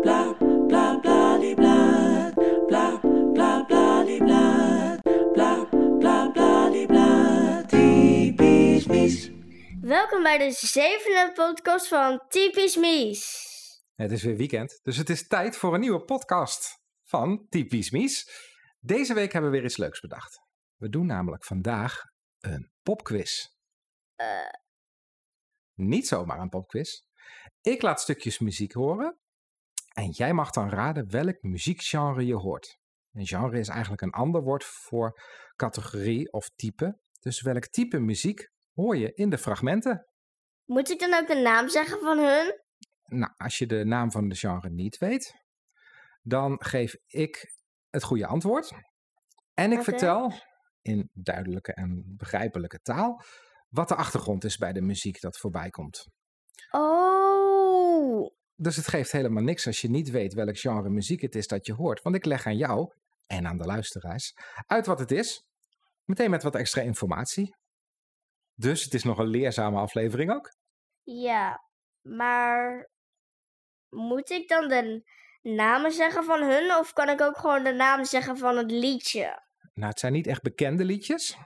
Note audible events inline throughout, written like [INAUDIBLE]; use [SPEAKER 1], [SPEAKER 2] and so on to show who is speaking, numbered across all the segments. [SPEAKER 1] bla bla bla li bla bla bla bla li bla bla bla bla li bla typisch mies.
[SPEAKER 2] Welkom bij de zevende podcast van Typisch Mies.
[SPEAKER 3] Het is weer weekend, dus het is tijd voor een nieuwe podcast van Typisch Mies. Deze week hebben we weer iets leuks bedacht. We doen namelijk vandaag een popquiz.
[SPEAKER 2] Eh.
[SPEAKER 3] Niet zomaar een popquiz. Ik laat stukjes muziek horen en jij mag dan raden welk muziekgenre je hoort. Een genre is eigenlijk een ander woord voor categorie of type. Dus welk type muziek hoor je in de fragmenten?
[SPEAKER 2] Moet ik dan ook de naam zeggen van hun?
[SPEAKER 3] Nou, als je de naam van de genre niet weet, dan geef ik het goede antwoord. En ik
[SPEAKER 2] Oké.
[SPEAKER 3] vertel in duidelijke en begrijpelijke taal wat de achtergrond is bij de muziek dat voorbij komt.
[SPEAKER 2] Oh.
[SPEAKER 3] Dus het geeft helemaal niks als je niet weet welk genre muziek het is dat je hoort. Want ik leg aan jou en aan de luisteraars uit wat het is. Meteen met wat extra informatie. Dus het is nog een leerzame aflevering ook.
[SPEAKER 2] Ja, maar moet ik dan de namen zeggen van hun of kan ik ook gewoon de naam zeggen van het liedje?
[SPEAKER 3] Nou, het zijn niet echt bekende liedjes.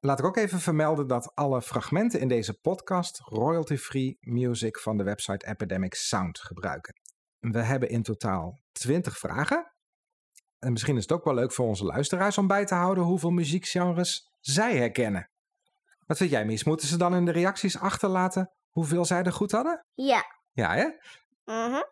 [SPEAKER 3] Laat ik ook even vermelden dat alle fragmenten in deze podcast royalty-free music van de website Epidemic Sound gebruiken. We hebben in totaal 20 vragen. En misschien is het ook wel leuk voor onze luisteraars om bij te houden hoeveel muziekgenres zij herkennen. Wat vind jij, Mies? Moeten ze dan in de reacties achterlaten hoeveel zij er goed hadden?
[SPEAKER 2] Ja.
[SPEAKER 3] Ja, hè?
[SPEAKER 2] Mhm.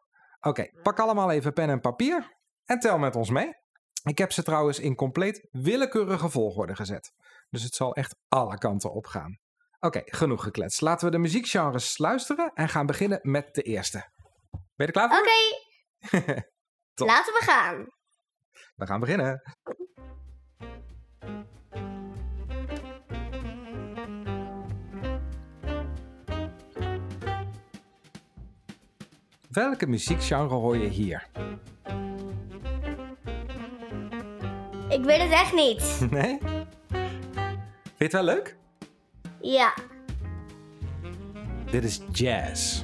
[SPEAKER 3] Oké, pak allemaal even pen en papier en tel met ons mee. Ik heb ze trouwens in compleet willekeurige volgorde gezet. Dus het zal echt alle kanten opgaan. Oké, genoeg gekletst. Laten we de muziekgenres luisteren en gaan beginnen met de eerste. Ben je er klaar
[SPEAKER 2] Oké,
[SPEAKER 3] voor?
[SPEAKER 2] [LAUGHS]
[SPEAKER 3] Top.
[SPEAKER 2] laten we gaan.
[SPEAKER 3] We gaan beginnen. Welke muziekgenre hoor je hier?
[SPEAKER 2] Ik weet het echt
[SPEAKER 3] [LAUGHS]
[SPEAKER 2] niet.
[SPEAKER 3] Nee? Vind je het wel leuk?
[SPEAKER 2] Ja.
[SPEAKER 3] Dit is jazz.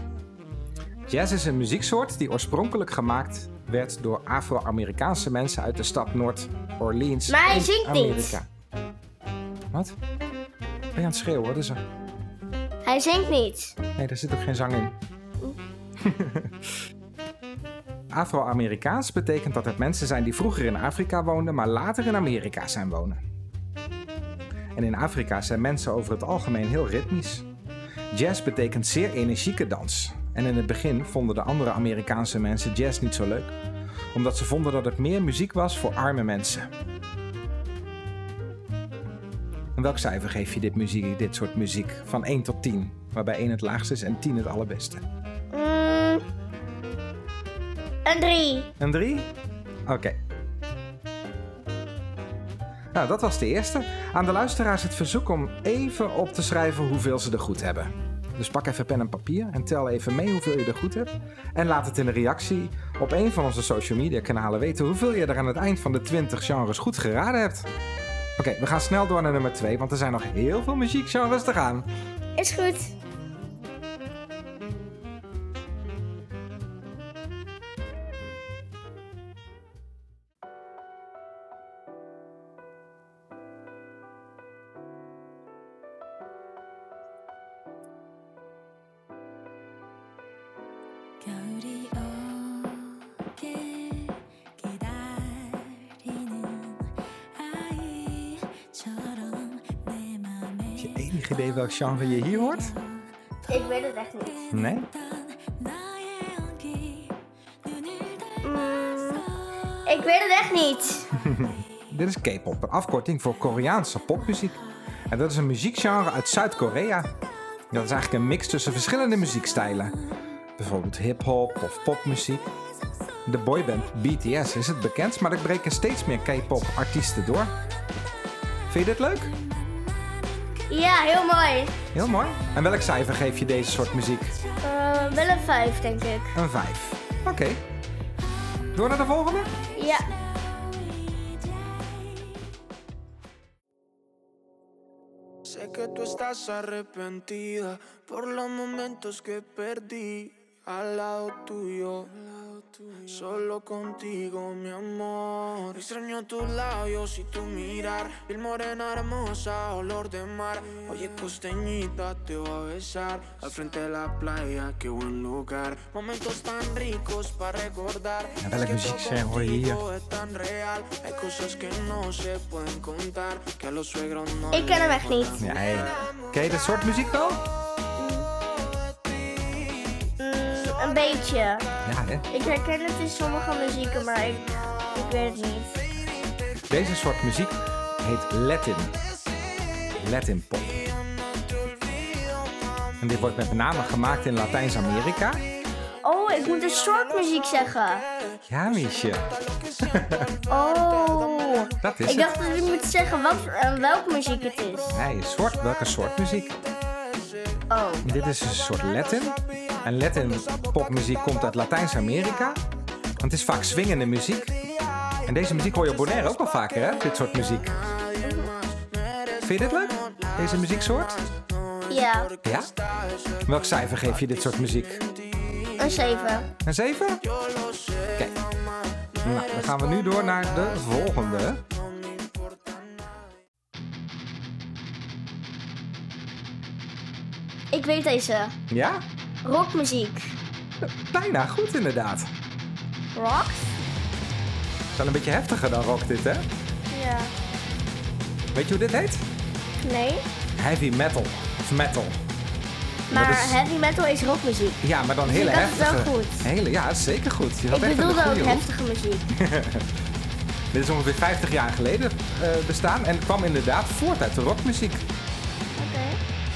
[SPEAKER 3] Jazz is een muzieksoort die oorspronkelijk gemaakt werd door Afro-Amerikaanse mensen uit de stad Noord-Orleans.
[SPEAKER 2] Maar hij
[SPEAKER 3] in
[SPEAKER 2] zingt niet.
[SPEAKER 3] Amerika. Wat? Ben je aan het schreeuwen? Wat is er?
[SPEAKER 2] Hij zingt niet.
[SPEAKER 3] Nee, daar zit ook geen zang in. Afro-Amerikaans betekent dat het mensen zijn die vroeger in Afrika woonden, maar later in Amerika zijn wonen. En in Afrika zijn mensen over het algemeen heel ritmisch. Jazz betekent zeer energieke dans. En in het begin vonden de andere Amerikaanse mensen jazz niet zo leuk, omdat ze vonden dat het meer muziek was voor arme mensen. En welk cijfer geef je dit, muziek, dit soort muziek van 1 tot 10, waarbij 1 het laagste is en 10 het allerbeste?
[SPEAKER 2] Mm. Een drie.
[SPEAKER 3] Een drie? Oké. Nou, dat was de eerste. Aan de luisteraars het verzoek om even op te schrijven hoeveel ze er goed hebben. Dus pak even pen en papier en tel even mee hoeveel je er goed hebt. En laat het in de reactie op een van onze social media kanalen weten hoeveel je er aan het eind van de 20 genres goed geraden hebt. Oké, we gaan snel door naar nummer 2, want er zijn nog heel veel muziekgenres te gaan.
[SPEAKER 2] Is goed.
[SPEAKER 4] 겨울이 오게 기다리는 아이처럼 내 맘에
[SPEAKER 3] Heb je enig idee welk genre je hier hoort?
[SPEAKER 2] Ik weet het echt niet.
[SPEAKER 3] Nee?
[SPEAKER 4] 나의 온기 눈을
[SPEAKER 2] Mm,
[SPEAKER 4] 닫아
[SPEAKER 2] ik weet het echt niet.
[SPEAKER 3] Dit is K-pop, een afkorting voor Koreaanse popmuziek. En dat is een muziekgenre uit Zuid-Korea. Dat is eigenlijk een mix tussen verschillende muziekstijlen. Bijvoorbeeld hip-hop of popmuziek. De boyband BTS is het bekendst, maar er breken steeds meer K-pop artiesten door. Vind je dit leuk?
[SPEAKER 2] Ja, heel mooi.
[SPEAKER 3] Heel mooi. En welk cijfer geef je deze soort muziek?
[SPEAKER 2] Eh, wel een vijf, denk ik.
[SPEAKER 3] Een 5. Oké. Door naar de volgende?
[SPEAKER 2] Ja.
[SPEAKER 5] Sé que tú estás arrepentida por los momentos que perdí al lado tuyo. Solo contigo, mi amor. Extraño tus labios y tu mirar. Piel morena hermosa, olor de mar. Oye, costeñita, te voy a besar. Al frente de la playa, qué buen lugar. Momentos tan ricos para recordar.
[SPEAKER 3] Ja, welk
[SPEAKER 5] Es que
[SPEAKER 3] muziek
[SPEAKER 5] todo
[SPEAKER 3] zijn hoor je hier?
[SPEAKER 5] contigo es tan real. Hay cosas que no se pueden contar. Que a los suegros no.
[SPEAKER 2] Ik ken hem echt niet.
[SPEAKER 3] Nee. Ken je dat soort muziek wel?
[SPEAKER 2] Mm, een beetje.
[SPEAKER 3] Ja, hè?
[SPEAKER 2] Ik herken het in sommige muzieken, maar ik, ik weet het niet.
[SPEAKER 3] Deze soort muziek heet Latin. Latin pop. En dit wordt met name gemaakt in Latijns-Amerika.
[SPEAKER 2] Oh, ik moet een soort muziek zeggen.
[SPEAKER 3] Ja, Miesje.
[SPEAKER 2] Oh.
[SPEAKER 3] Dat is het.
[SPEAKER 2] Ik dacht dat ik moet zeggen wat, eh, welke muziek het is.
[SPEAKER 3] Nee, soort, welke soort muziek?
[SPEAKER 2] Oh.
[SPEAKER 3] Dit is een soort Latin. En Latin popmuziek komt uit Latijns-Amerika. Want het is vaak swingende muziek. En deze muziek hoor je op Bonaire ook wel vaker, hè? Dit soort muziek. Vind je dit leuk? Deze muzieksoort?
[SPEAKER 2] Ja,
[SPEAKER 3] Ja? Welk cijfer geef je dit soort muziek?
[SPEAKER 2] een 7.
[SPEAKER 3] Een 7? Kijk. Nou, dan gaan we nu door naar de volgende.
[SPEAKER 2] Ik weet deze.
[SPEAKER 3] Ja?
[SPEAKER 2] Rockmuziek.
[SPEAKER 3] Bijna goed inderdaad.
[SPEAKER 2] Rock?
[SPEAKER 3] Is wel een beetje heftiger dan rock dit, hè?
[SPEAKER 2] Ja.
[SPEAKER 3] Weet je hoe dit heet?
[SPEAKER 2] Nee.
[SPEAKER 3] Heavy metal. Of metal.
[SPEAKER 2] Maar
[SPEAKER 3] is-
[SPEAKER 2] heavy metal is rockmuziek.
[SPEAKER 3] Ja, maar dan hele
[SPEAKER 2] had het wel
[SPEAKER 3] heftige.
[SPEAKER 2] goed.
[SPEAKER 3] Hele, ja, zeker goed. Je had
[SPEAKER 2] Ik
[SPEAKER 3] echt een
[SPEAKER 2] bedoelde ook
[SPEAKER 3] goeie, hoor.
[SPEAKER 2] heftige muziek.
[SPEAKER 3] Dit is ongeveer 50 jaar geleden eh, bestaan en kwam inderdaad voort uit de rockmuziek.
[SPEAKER 2] Oké.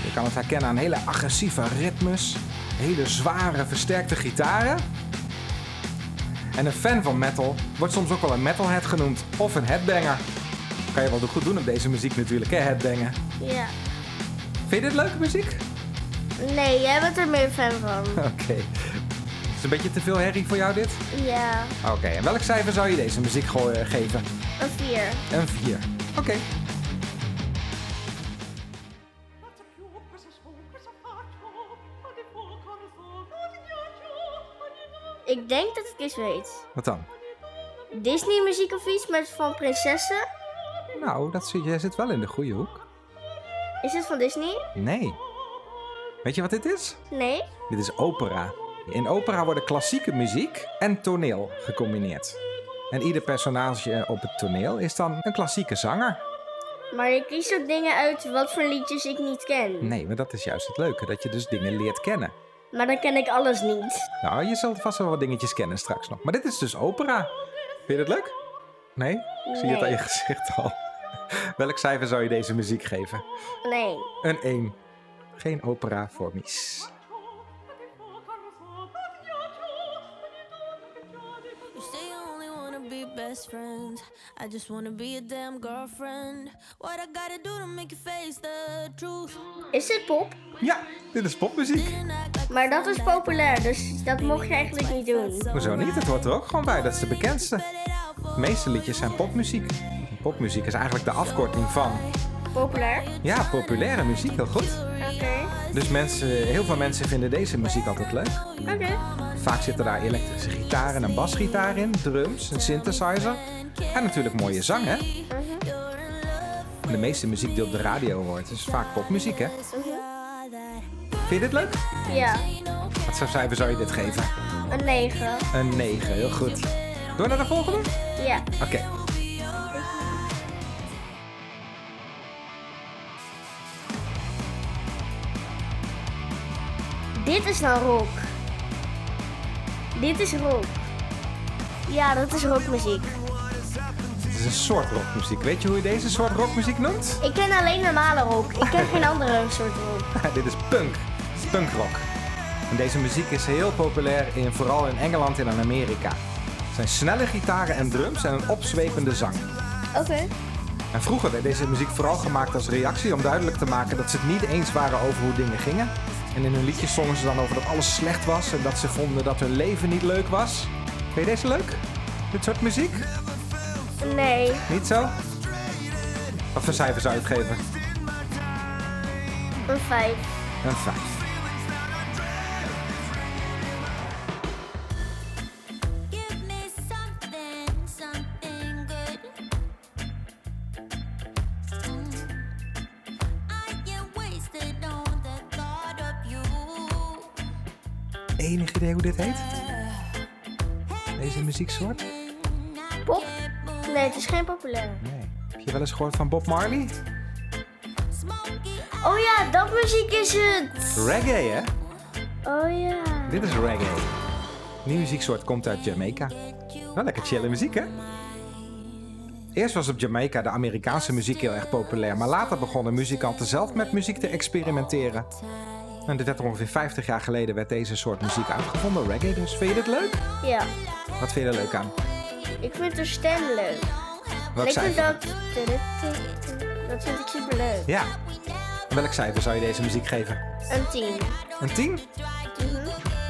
[SPEAKER 3] Je kan het herkennen aan hele agressieve ritmes, hele zware versterkte gitaren. En een fan van metal wordt soms ook wel een metalhead genoemd of een headbanger. Kan je wel goed doen op deze muziek natuurlijk, hè, headbangen.
[SPEAKER 2] Ja.
[SPEAKER 3] Vind je dit leuke muziek? [LAUGHS]
[SPEAKER 2] Nee, jij bent er meer fan van.
[SPEAKER 3] Oké. Is een beetje te veel herrie voor jou dit?
[SPEAKER 2] ja,
[SPEAKER 3] Oké, en welk cijfer zou je deze muziek gooien, geven?
[SPEAKER 2] een 4.
[SPEAKER 3] Een 4. Oké.
[SPEAKER 2] Ik denk dat ik iets weet.
[SPEAKER 3] Wat dan?
[SPEAKER 2] Disney muziek of iets met van prinsessen?
[SPEAKER 3] Nou, dat zit, jij zit wel in de goede hoek.
[SPEAKER 2] Is het van Disney?
[SPEAKER 3] Nee. Weet je wat dit is?
[SPEAKER 2] Nee.
[SPEAKER 3] Dit is opera. In opera worden klassieke muziek en toneel gecombineerd. En ieder personage op het toneel is dan een klassieke zanger.
[SPEAKER 2] Maar je kiest ook dingen uit wat voor liedjes ik niet ken.
[SPEAKER 3] Nee, maar dat is juist het leuke, dat je dus dingen leert kennen.
[SPEAKER 2] Maar dan ken ik alles niet.
[SPEAKER 3] Nou, je zult vast wel wat dingetjes kennen straks nog. Maar dit is dus opera. Vind je dat leuk? Nee? Ik zie het aan je
[SPEAKER 2] Nee.
[SPEAKER 3] gezicht al. Welk cijfer zou je deze muziek geven?
[SPEAKER 2] Nee.
[SPEAKER 3] Een 1. Geen opera voor Mies.
[SPEAKER 4] You say you only wanna be best friends. I just wanna be a damn girlfriend. What I gotta do to make you face the truth?
[SPEAKER 2] Is het pop?
[SPEAKER 3] Ja, dit is popmuziek.
[SPEAKER 4] Didn't act like
[SPEAKER 2] Maar dat is populair, dus dat mocht je eigenlijk niet doen.
[SPEAKER 3] Hoezo niet? Het hoort er ook gewoon bij. Dat is de bekendste. De meeste liedjes zijn popmuziek. En Popmuziek is eigenlijk de afkorting van,
[SPEAKER 2] Populair?
[SPEAKER 3] ja, populaire muziek. Heel goed.
[SPEAKER 2] Oké.
[SPEAKER 3] Dus mensen, heel veel mensen vinden deze muziek altijd leuk.
[SPEAKER 2] Oké.
[SPEAKER 3] Vaak zitten daar elektrische gitaar en een basgitaar in, drums, een synthesizer. En natuurlijk mooie zang, hè? De meeste muziek die op de radio hoort is vaak popmuziek, hè? Vind je dit leuk?
[SPEAKER 2] Ja,
[SPEAKER 3] Wat voor cijfer zou je dit geven?
[SPEAKER 2] een 9.
[SPEAKER 3] Een 9, heel goed. Door naar de volgende? Oké.
[SPEAKER 2] Ja. Dit is nou rock. Dit is rock. Ja, dat is rockmuziek.
[SPEAKER 3] Het is een soort rockmuziek. Weet je hoe je deze soort rockmuziek noemt?
[SPEAKER 2] Ik ken alleen normale rock. Ik ken geen andere soort rock.
[SPEAKER 3] [LAUGHS] Dit is punk. Punkrock. En deze muziek is heel populair, in, vooral in Engeland en in Amerika. Het zijn snelle gitaren en drums en een opzwepende zang.
[SPEAKER 2] Oké.
[SPEAKER 3] En vroeger werd deze muziek vooral gemaakt als reactie om duidelijk te maken dat ze het niet eens waren over hoe dingen gingen. En in hun liedjes zongen ze dan over dat alles slecht was en dat ze vonden dat hun leven niet leuk was. Vind je deze leuk? Dit soort muziek?
[SPEAKER 2] Nee,
[SPEAKER 3] Niet zo? Wat voor cijfer zou je het geven?
[SPEAKER 2] een 5.
[SPEAKER 3] Een 5.
[SPEAKER 4] Yeah, Mm.
[SPEAKER 3] enig idee hoe dit heet? Deze muzieksoort?
[SPEAKER 4] Mm,
[SPEAKER 2] Pop? Nee, het is geen populair.
[SPEAKER 3] Nee. Heb je wel eens gehoord van Bob Marley?
[SPEAKER 2] Oh ja, dat muziek is het.
[SPEAKER 3] Reggae, hè?
[SPEAKER 2] Oh ja.
[SPEAKER 3] Dit is reggae. Die muzieksoort komt uit Jamaica. Wel lekker chille muziek, hè? Eerst was op Jamaica de Amerikaanse muziek heel erg populair, maar later begonnen muzikanten zelf met muziek te experimenteren. En dit werd ongeveer 50 jaar geleden werd deze soort muziek uitgevonden, reggae dus. Vind je dit leuk?
[SPEAKER 2] Ja.
[SPEAKER 3] Wat vind je er leuk aan?
[SPEAKER 2] Ik vind de stem leuk.
[SPEAKER 3] Welk
[SPEAKER 2] ik vind
[SPEAKER 3] cijfer?
[SPEAKER 2] dat... Dat vind ik super leuk.
[SPEAKER 3] Ja. Welk cijfer zou je deze muziek geven?
[SPEAKER 2] Een tien.
[SPEAKER 3] Een 10?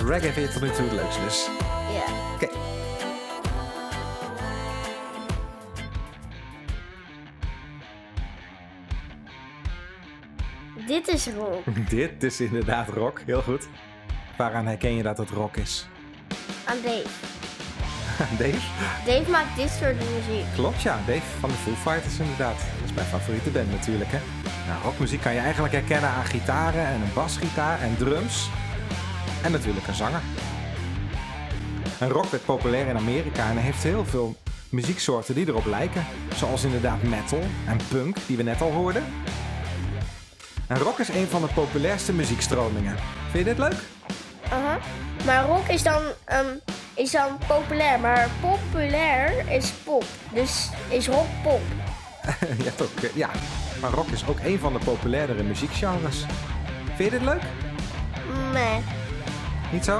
[SPEAKER 3] Reggae vind je tot nu toe het leukst dus.
[SPEAKER 2] Ja.
[SPEAKER 3] Oké.
[SPEAKER 2] Dit is rock.
[SPEAKER 3] Dit is inderdaad rock, heel goed. Waaraan herken je dat het rock is? [LAUGHS]
[SPEAKER 2] Aan Dave.
[SPEAKER 3] Dave?
[SPEAKER 2] Dave maakt dit soort muziek.
[SPEAKER 3] Klopt ja, Dave van de Foo Fighters inderdaad. Dat is mijn favoriete band natuurlijk hè. Nou, rockmuziek kan je eigenlijk herkennen aan gitaren en een basgitaar en drums. En natuurlijk een zanger. En rock werd populair in Amerika en er heeft heel veel muzieksoorten die erop lijken. Zoals inderdaad metal en punk, die we net al hoorden. En rock is een van de populairste muziekstromingen. Vind je dit leuk?
[SPEAKER 2] Aha. Maar rock is dan, ehm, is dan populair. Maar populair is pop. Dus is rock pop.
[SPEAKER 3] Je hebt ook, eh, [LAUGHS] ja, maar rock is ook een van de populairdere muziekgenres. Vind je dit leuk?
[SPEAKER 2] Nee.
[SPEAKER 3] Niet zo?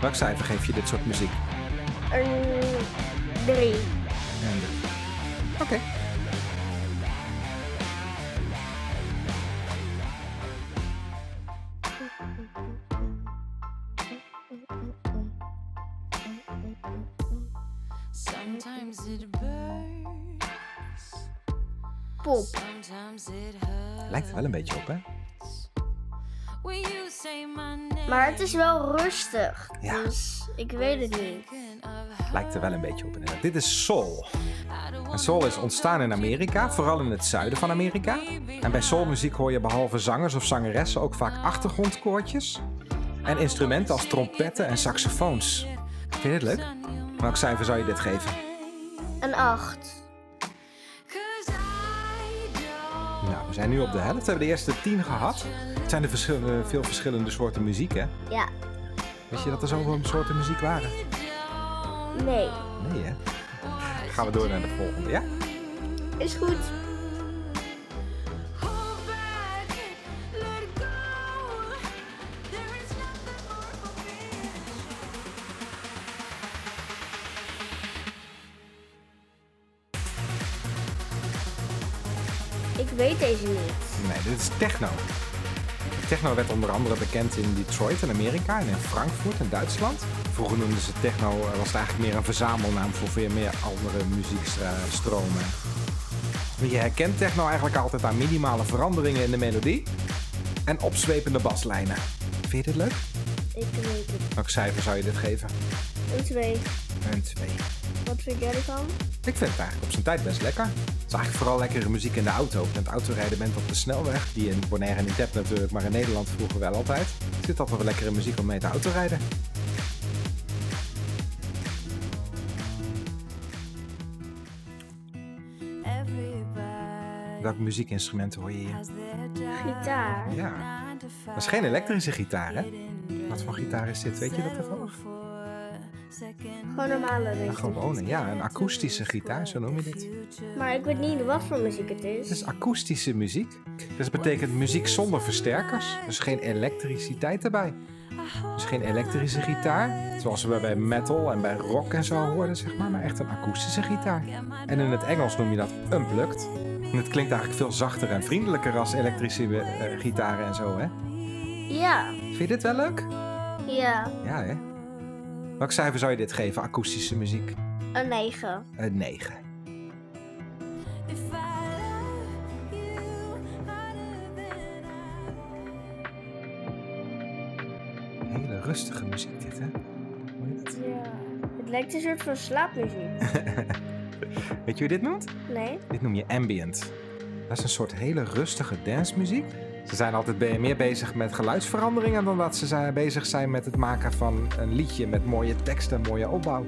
[SPEAKER 3] Welk cijfer geef je dit soort muziek?
[SPEAKER 2] Een drie.
[SPEAKER 3] En de- Oké.
[SPEAKER 6] Sometimes it burns.
[SPEAKER 2] Pop.
[SPEAKER 6] Sometimes it hurts.
[SPEAKER 3] Lijkt er wel een beetje op, hè?
[SPEAKER 6] When you say my name,
[SPEAKER 2] Maar het is wel rustig.
[SPEAKER 3] Ja.
[SPEAKER 2] Dus ik weet het niet.
[SPEAKER 6] thinking of how
[SPEAKER 3] Lijkt er wel een beetje op, inderdaad. Dit is
[SPEAKER 6] I
[SPEAKER 3] soul.
[SPEAKER 6] don't
[SPEAKER 3] En
[SPEAKER 6] want
[SPEAKER 3] soul is ontstaan in Amerika, vooral in het zuiden van Amerika. En bij soulmuziek hoor je behalve zangers of zangeressen ook vaak achtergrondkoortjes. En instrumenten als trompetten en saxofoons. Vind je dit leuk? Welk cijfer zou je dit geven?
[SPEAKER 2] Een acht.
[SPEAKER 6] 'cause I don't
[SPEAKER 3] Nou, we zijn nu op de helft. We hebben de eerste tien gehad. Het zijn er verschillende, veel verschillende soorten muziek, hè?
[SPEAKER 2] Ja.
[SPEAKER 3] Weet je dat er zoveel soorten muziek waren?
[SPEAKER 2] Nee.
[SPEAKER 3] Nee, hè? Gaan we door naar de volgende, ja?
[SPEAKER 2] Is goed.
[SPEAKER 6] hold back. Let go. There is nothing more for me.
[SPEAKER 2] Ik weet deze niet.
[SPEAKER 3] Nee, dit is techno. Techno werd onder andere bekend in Detroit in Amerika en in Frankfurt in Duitsland. Vroeger noemden ze techno, eh, was het eigenlijk meer een verzamelnaam voor veel meer andere muziekstromen. Maar Je herkent techno eigenlijk altijd aan minimale veranderingen in de melodie en opzwepende baslijnen. Vind je dit leuk?
[SPEAKER 2] Ik weet het.
[SPEAKER 3] Welk cijfer zou je dit geven?
[SPEAKER 2] Een twee.
[SPEAKER 3] Een 2.
[SPEAKER 2] Wat vind jij ervan?
[SPEAKER 3] Ik vind het eigenlijk op zijn tijd best lekker. Het is eigenlijk vooral lekkere muziek in de auto. Met autorijden bent op de snelweg, die in Bonaire en niet hebt natuurlijk, maar in Nederland vroeger wel altijd. Er zit altijd wel lekkere muziek om mee te autorijden.
[SPEAKER 6] Everybody
[SPEAKER 3] Welk muziekinstrument hoor je hier?
[SPEAKER 6] has their job.
[SPEAKER 2] Gitaar.
[SPEAKER 3] Ja,
[SPEAKER 6] Nine to five.
[SPEAKER 3] dat is geen elektrische gitaar, hè?
[SPEAKER 6] in
[SPEAKER 3] Wat voor gitaar is dit? Weet je dat ervan?
[SPEAKER 6] for second
[SPEAKER 2] Gewoon normale
[SPEAKER 3] Een
[SPEAKER 2] muziek.
[SPEAKER 3] gewone, ja, een akoestische gitaar, zo noem je dit.
[SPEAKER 2] Maar ik weet niet wat voor muziek het is.
[SPEAKER 3] Het is akoestische muziek. Dus dat betekent muziek zonder versterkers. Dus geen elektriciteit erbij. Dus geen elektrische gitaar. Zoals we bij metal en bij rock en zo hoorden, zeg maar. Maar echt een akoestische gitaar. En in het Engels noem je dat unplugged. En het klinkt eigenlijk veel zachter en vriendelijker als elektrische eh, gitaren en zo, hè?
[SPEAKER 2] Ja.
[SPEAKER 3] Vind je dit wel leuk?
[SPEAKER 2] Ja.
[SPEAKER 3] Ja, hè? Welk cijfer zou je dit geven, akoestische muziek?
[SPEAKER 2] Een negen.
[SPEAKER 3] Een 9.
[SPEAKER 6] If I love you harder than
[SPEAKER 3] Hele rustige muziek dit, hè? Hoor je dat?
[SPEAKER 2] Ja. Het lijkt een soort van slaapmuziek.
[SPEAKER 3] Weet je hoe je dit noemt?
[SPEAKER 2] Nee?
[SPEAKER 3] Dit noem je ambient. Dat is een soort hele rustige dancemuziek Ze zijn altijd be- meer bezig met geluidsveranderingen dan dat ze zijn- bezig zijn met het maken van een liedje met mooie tekst en mooie opbouw.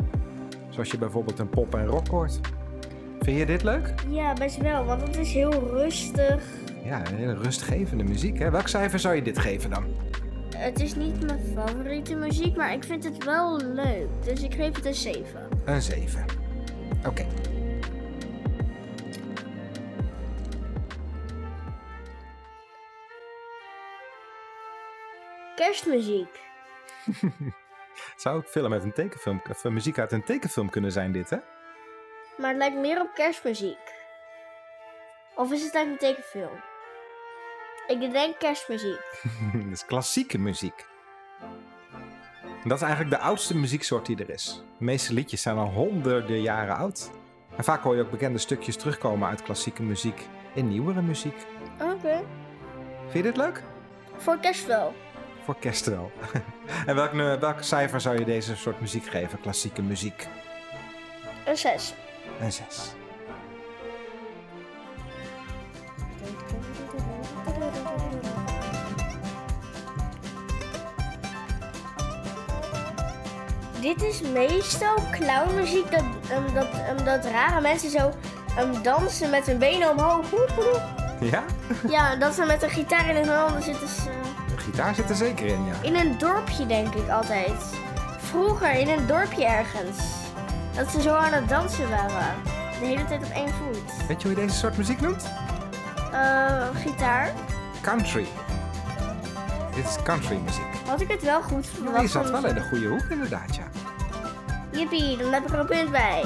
[SPEAKER 3] Zoals je bijvoorbeeld een pop en rock hoort. Vind je dit leuk?
[SPEAKER 2] Ja, best wel, want het is heel rustig.
[SPEAKER 3] Ja, een hele rustgevende muziek. Hè? Welk cijfer zou je dit geven dan?
[SPEAKER 2] Het is niet mijn favoriete muziek, maar ik vind het wel leuk. Dus ik geef het een 7.
[SPEAKER 3] Een 7. Oké.
[SPEAKER 2] Kerstmuziek.
[SPEAKER 3] Zou ook film uit een tekenfilm, of eh, muziek uit een tekenfilm kunnen zijn dit, hè? [LAUGHS]
[SPEAKER 2] Maar het lijkt meer op kerstmuziek. Of is het uit een tekenfilm? Ik denk kerstmuziek.
[SPEAKER 3] Dat is klassieke muziek. Dat is eigenlijk de oudste muzieksoort die er is. De meeste liedjes zijn al honderden jaren oud. En vaak hoor je ook bekende stukjes terugkomen uit klassieke muziek in nieuwere muziek.
[SPEAKER 2] Oké.
[SPEAKER 3] Vind je dit leuk?
[SPEAKER 2] Voor kerst wel.
[SPEAKER 3] Voor kerst wel. [LAUGHS] en welk, nu- welk cijfer zou je deze soort muziek geven? Klassieke muziek.
[SPEAKER 2] Een 6.
[SPEAKER 3] Een 6.
[SPEAKER 2] Dit is meestal clownmuziek dat, ehm, dat, ehm, dat rare mensen zo ehm, dansen met hun benen omhoog. Hoep, hoep.
[SPEAKER 3] Ja?
[SPEAKER 2] Ja, en dat ze met een gitaar in hun handen zitten. eh. ze-
[SPEAKER 3] De gitaar zit er zeker in, ja.
[SPEAKER 2] in een dorpje denk ik altijd. Vroeger in een dorpje ergens. Dat ze zo aan het dansen waren. De hele tijd op één voet.
[SPEAKER 3] Weet je hoe je deze soort muziek noemt?
[SPEAKER 2] Eh, gitaar.
[SPEAKER 3] Country. Dit is country muziek.
[SPEAKER 2] Had ik het wel goed verwacht.
[SPEAKER 3] Maar je zat
[SPEAKER 2] van
[SPEAKER 3] wel in
[SPEAKER 2] mezelf.
[SPEAKER 3] de goede hoek, inderdaad, ja.
[SPEAKER 2] Jippie, dan heb ik er een punt bij.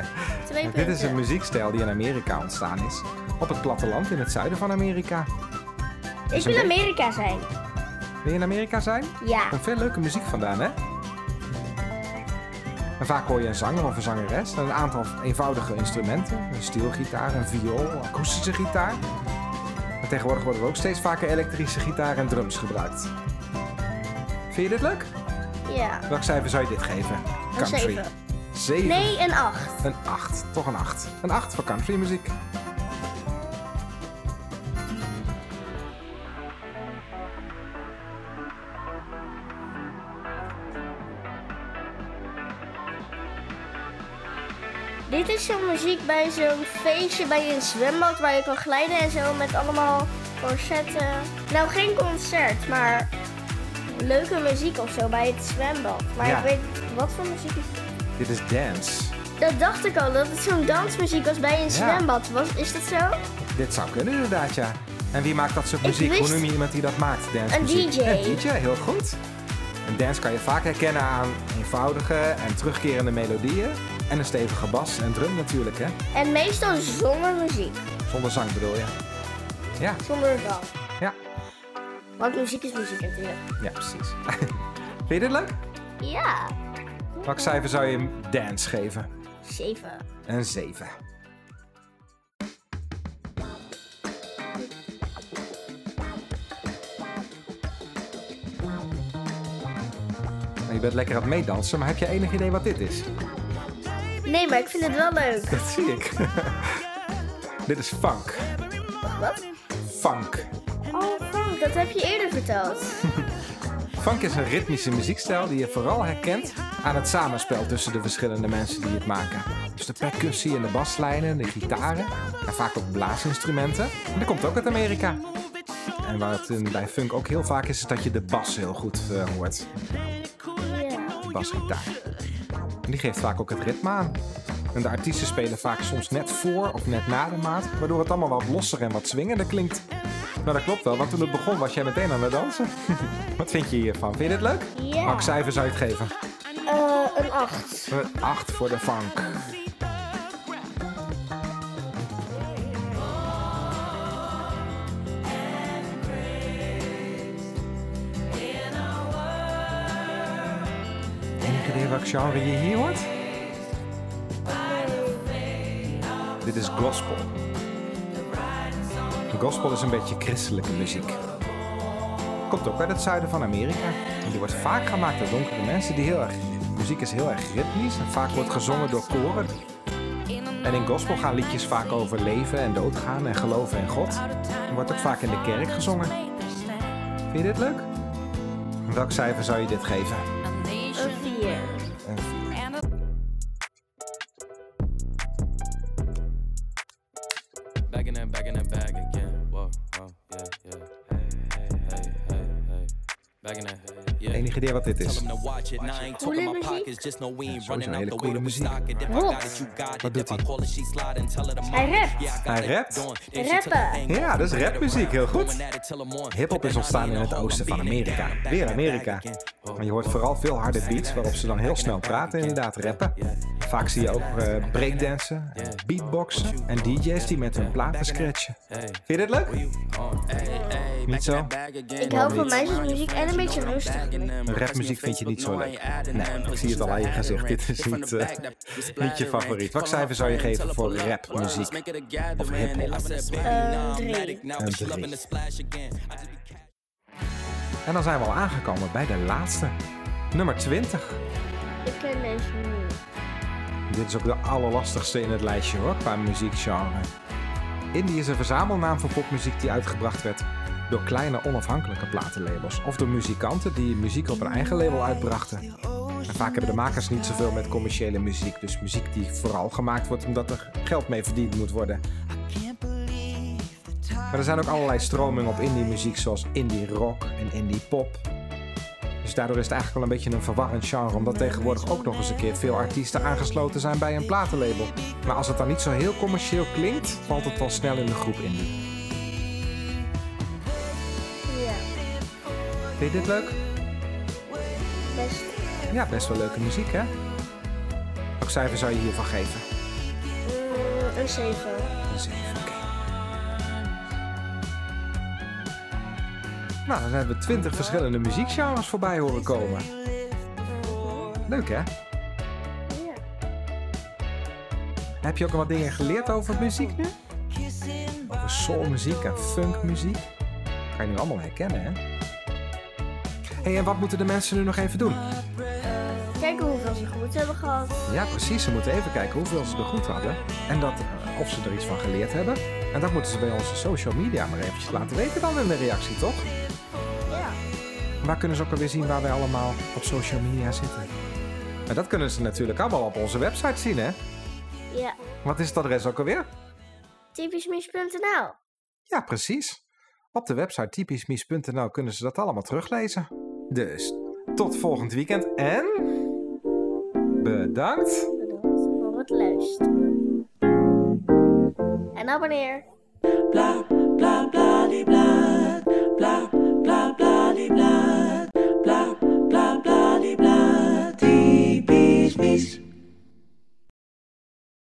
[SPEAKER 3] [LAUGHS]
[SPEAKER 2] Twee
[SPEAKER 3] En
[SPEAKER 2] punten.
[SPEAKER 3] Dit is een muziekstijl die in Amerika ontstaan is. Op het platteland in het zuiden van Amerika.
[SPEAKER 2] ik
[SPEAKER 3] een
[SPEAKER 2] wil Amerika zijn.
[SPEAKER 3] Wil je in Amerika zijn?
[SPEAKER 2] Ja.
[SPEAKER 3] Komt Oh, veel leuke muziek vandaan, hè? En vaak hoor je een zanger of een zangeres en een aantal eenvoudige instrumenten. Een stielgitaar, een viool, een akoestische gitaar. En tegenwoordig worden er ook steeds vaker elektrische gitaar en drums gebruikt. Vind je dit leuk?
[SPEAKER 2] Ja.
[SPEAKER 3] Welk cijfer zou je dit geven?
[SPEAKER 2] Een
[SPEAKER 3] Country.
[SPEAKER 2] 7.
[SPEAKER 3] 7.
[SPEAKER 2] Nee, een 8.
[SPEAKER 3] Een 8. Toch een 8. Een 8 voor country muziek.
[SPEAKER 2] Dit is zo'n muziek bij zo'n feestje bij een zwembad waar je kan glijden en zo met allemaal corsetten. Nou, geen concert, maar leuke muziek of zo bij het zwembad. Maar
[SPEAKER 3] Ja.
[SPEAKER 2] ik weet wat voor muziek is dit?
[SPEAKER 3] Dit is dance.
[SPEAKER 2] Dat dacht ik al, dat het zo'n dansmuziek was bij een zwembad. Was, is dat zo?
[SPEAKER 3] Dit zou kunnen inderdaad, ja. En wie maakt dat soort
[SPEAKER 2] Ik
[SPEAKER 3] muziek? Hoe
[SPEAKER 2] wist-
[SPEAKER 3] noem je iemand die dat maakt? Dance
[SPEAKER 2] Een DJ.
[SPEAKER 3] Een DJ, heel goed. Een dance kan je vaak herkennen aan eenvoudige en terugkerende melodieën. En een stevige bas en drum natuurlijk, hè.
[SPEAKER 2] En meestal zonder muziek,
[SPEAKER 3] Zonder zang bedoel je. Ja,
[SPEAKER 2] zonder zang.
[SPEAKER 3] ja.
[SPEAKER 2] Want muziek is muziek natuurlijk.
[SPEAKER 3] Ja, precies. [LAUGHS] Vind je dit leuk?
[SPEAKER 2] Ja,
[SPEAKER 3] Welk cijfer zou je hem dance geven?
[SPEAKER 2] 7.
[SPEAKER 3] Een 7. Nou, Je bent lekker aan het meedansen, maar heb je enig idee wat dit is?
[SPEAKER 2] Nee, maar ik vind het wel leuk.
[SPEAKER 3] Dat zie ik. [LAUGHS] dit is funk.
[SPEAKER 2] Wat?
[SPEAKER 3] Funk.
[SPEAKER 2] Oh, Frank, dat heb je eerder verteld.
[SPEAKER 3] Funk is een ritmische muziekstijl die je vooral herkent aan het samenspel tussen de verschillende mensen die het maken. Dus de percussie en de baslijnen, de gitaren en vaak ook blaasinstrumenten. En dat komt ook uit Amerika. En wat in- bij funk ook heel vaak is, is dat je de bas heel goed eh, hoort.
[SPEAKER 2] Ja.
[SPEAKER 3] De basgitaar. En die geeft vaak ook het ritme aan. En de artiesten spelen vaak soms net voor of net na de maat, waardoor het allemaal wat losser en wat swingender klinkt. Nou, dat klopt wel, want toen het begon was jij meteen aan het dansen. [LAUGHS] wat vind je hiervan? Vind je dit leuk?
[SPEAKER 2] Ja.
[SPEAKER 3] Welk cijfer zou je het geven?
[SPEAKER 2] Eh, een 8.
[SPEAKER 3] Een 8 voor de funk. Denk je weer welk genre je hier hoort? Dit is gospel. Gospel is een beetje christelijke muziek. Komt ook uit het zuiden van Amerika. En die wordt vaak gemaakt door donkere mensen die heel erg. de muziek is heel erg ritmisch en vaak wordt gezongen door koren. En in gospel gaan liedjes vaak over leven en doodgaan en geloven in God. En wordt ook vaak in de kerk gezongen. Vind je dit leuk? Welk cijfer zou je dit geven?
[SPEAKER 6] A nation
[SPEAKER 2] Een vier.
[SPEAKER 3] Een vier.
[SPEAKER 6] and a
[SPEAKER 7] Back in that, back in that bag again. Whoa, whoa, yeah, yeah. Hey, hey, hey, hey, hey. Back in that, yeah.
[SPEAKER 3] Enig idee wat dit
[SPEAKER 8] Tell
[SPEAKER 3] is.
[SPEAKER 8] 'em to watch it. Now I ain't talking my
[SPEAKER 2] Coole
[SPEAKER 8] pockets. Just know we ain't
[SPEAKER 3] Ja, sowieso
[SPEAKER 8] running out
[SPEAKER 3] hele
[SPEAKER 8] the
[SPEAKER 3] coole
[SPEAKER 8] way that we
[SPEAKER 3] muziek.
[SPEAKER 8] stock it. If I
[SPEAKER 2] Wat?
[SPEAKER 8] got it, you got
[SPEAKER 3] Wat
[SPEAKER 8] it.
[SPEAKER 3] doet
[SPEAKER 8] If I
[SPEAKER 3] hij?
[SPEAKER 8] call it, she slide and tell her to
[SPEAKER 2] Hij
[SPEAKER 8] mom.
[SPEAKER 2] rapt.
[SPEAKER 8] Yeah, I got
[SPEAKER 3] Hij
[SPEAKER 8] it
[SPEAKER 3] rapt.
[SPEAKER 8] done. And she took the
[SPEAKER 2] Rappen.
[SPEAKER 8] thing
[SPEAKER 3] Ja,
[SPEAKER 8] off.
[SPEAKER 3] dat is
[SPEAKER 8] Put it
[SPEAKER 3] rapmuziek, heel
[SPEAKER 8] around.
[SPEAKER 3] goed.
[SPEAKER 8] Going at it till 'em on.
[SPEAKER 3] Hip-hop is
[SPEAKER 8] Then I
[SPEAKER 3] ontstaan
[SPEAKER 8] need
[SPEAKER 3] in
[SPEAKER 8] a
[SPEAKER 3] het
[SPEAKER 8] hole,
[SPEAKER 3] oosten
[SPEAKER 8] I'm
[SPEAKER 3] van
[SPEAKER 8] beating it
[SPEAKER 3] Amerika.
[SPEAKER 8] down. Back
[SPEAKER 3] Weer
[SPEAKER 8] in that
[SPEAKER 3] Amerika.
[SPEAKER 8] bag again. Whoa,
[SPEAKER 3] Maar je hoort
[SPEAKER 8] whoa.
[SPEAKER 3] vooral veel harde
[SPEAKER 8] Back in
[SPEAKER 3] beats
[SPEAKER 8] that,
[SPEAKER 3] waarop ze dan
[SPEAKER 8] back
[SPEAKER 3] heel
[SPEAKER 8] in
[SPEAKER 3] snel
[SPEAKER 8] that
[SPEAKER 3] praten
[SPEAKER 8] bag
[SPEAKER 3] inderdaad
[SPEAKER 8] again.
[SPEAKER 3] rappen.
[SPEAKER 8] Yeah, yeah.
[SPEAKER 3] Vaak zie je ook eh breakdansen, en beatboxen en DJ's die met hun platen scratchen. Vind je dit leuk? Niet zo?
[SPEAKER 2] Ik hou van meisjesmuziek en een beetje rustig.
[SPEAKER 3] Rapmuziek vind eh, je niet zo leuk. Nee, ik zie het al aan je gezicht. Dit is niet, eh, niet je favoriet. Wat cijfer zou je geven voor rapmuziek? Of hip-hop?
[SPEAKER 2] Een drie.
[SPEAKER 3] Een drie. En dan zijn we al aangekomen bij de laatste. Nummer 20.
[SPEAKER 2] Ik ken deze niet.
[SPEAKER 3] Dit is ook de allerlastigste in het lijstje hoor, qua muziekgenre. Indie is een verzamelnaam voor popmuziek die uitgebracht werd door kleine onafhankelijke platenlabels of door muzikanten die muziek op hun eigen label uitbrachten. En vaak hebben de makers niet zoveel met commerciële muziek, dus muziek die vooral gemaakt wordt omdat er geld mee verdiend moet worden. Maar er zijn ook allerlei stromingen op indie muziek zoals indie rock en indie pop. Dus daardoor is het eigenlijk wel een beetje een verwarrend genre, omdat tegenwoordig ook nog eens een keer veel artiesten aangesloten zijn bij een platenlabel. Maar als het dan niet zo heel commercieel klinkt, valt het al snel in de groep indie.
[SPEAKER 2] Ja,
[SPEAKER 3] Vind je dit leuk?
[SPEAKER 2] best.
[SPEAKER 3] Ja, best wel leuke muziek hè? Welk cijfer zou je hiervan geven?
[SPEAKER 2] Mm, een zeven.
[SPEAKER 3] Een zeven, oké. Nou, dan hebben we 20 verschillende muziekgenres voorbij horen komen. Leuk hè?
[SPEAKER 2] Ja.
[SPEAKER 3] Heb je ook al wat dingen geleerd over muziek nu? Over soulmuziek en funkmuziek? Ga je nu allemaal herkennen, hè? hey, en wat moeten de mensen nu nog even doen?
[SPEAKER 2] Kijken hoeveel ze goed hebben gehad.
[SPEAKER 3] Ja, precies. Ze moeten even kijken hoeveel ze er goed hadden. En dat, eh, of ze er iets van geleerd hebben. En dat moeten ze bij onze social media maar eventjes laten weten dan in de reactie, toch?
[SPEAKER 2] Ja.
[SPEAKER 3] Waar kunnen ze ook alweer zien waar wij allemaal op social media zitten? En dat kunnen ze natuurlijk allemaal op onze website zien, hè?
[SPEAKER 2] Ja.
[SPEAKER 3] Wat is het adres ook alweer?
[SPEAKER 2] Typischmis.nl.
[SPEAKER 3] Ja, precies. Op de website typischmies.nl kunnen ze dat allemaal teruglezen. Dus tot volgend weekend en bedankt.
[SPEAKER 2] Bedankt voor het luisteren. En abonneer.
[SPEAKER 1] blah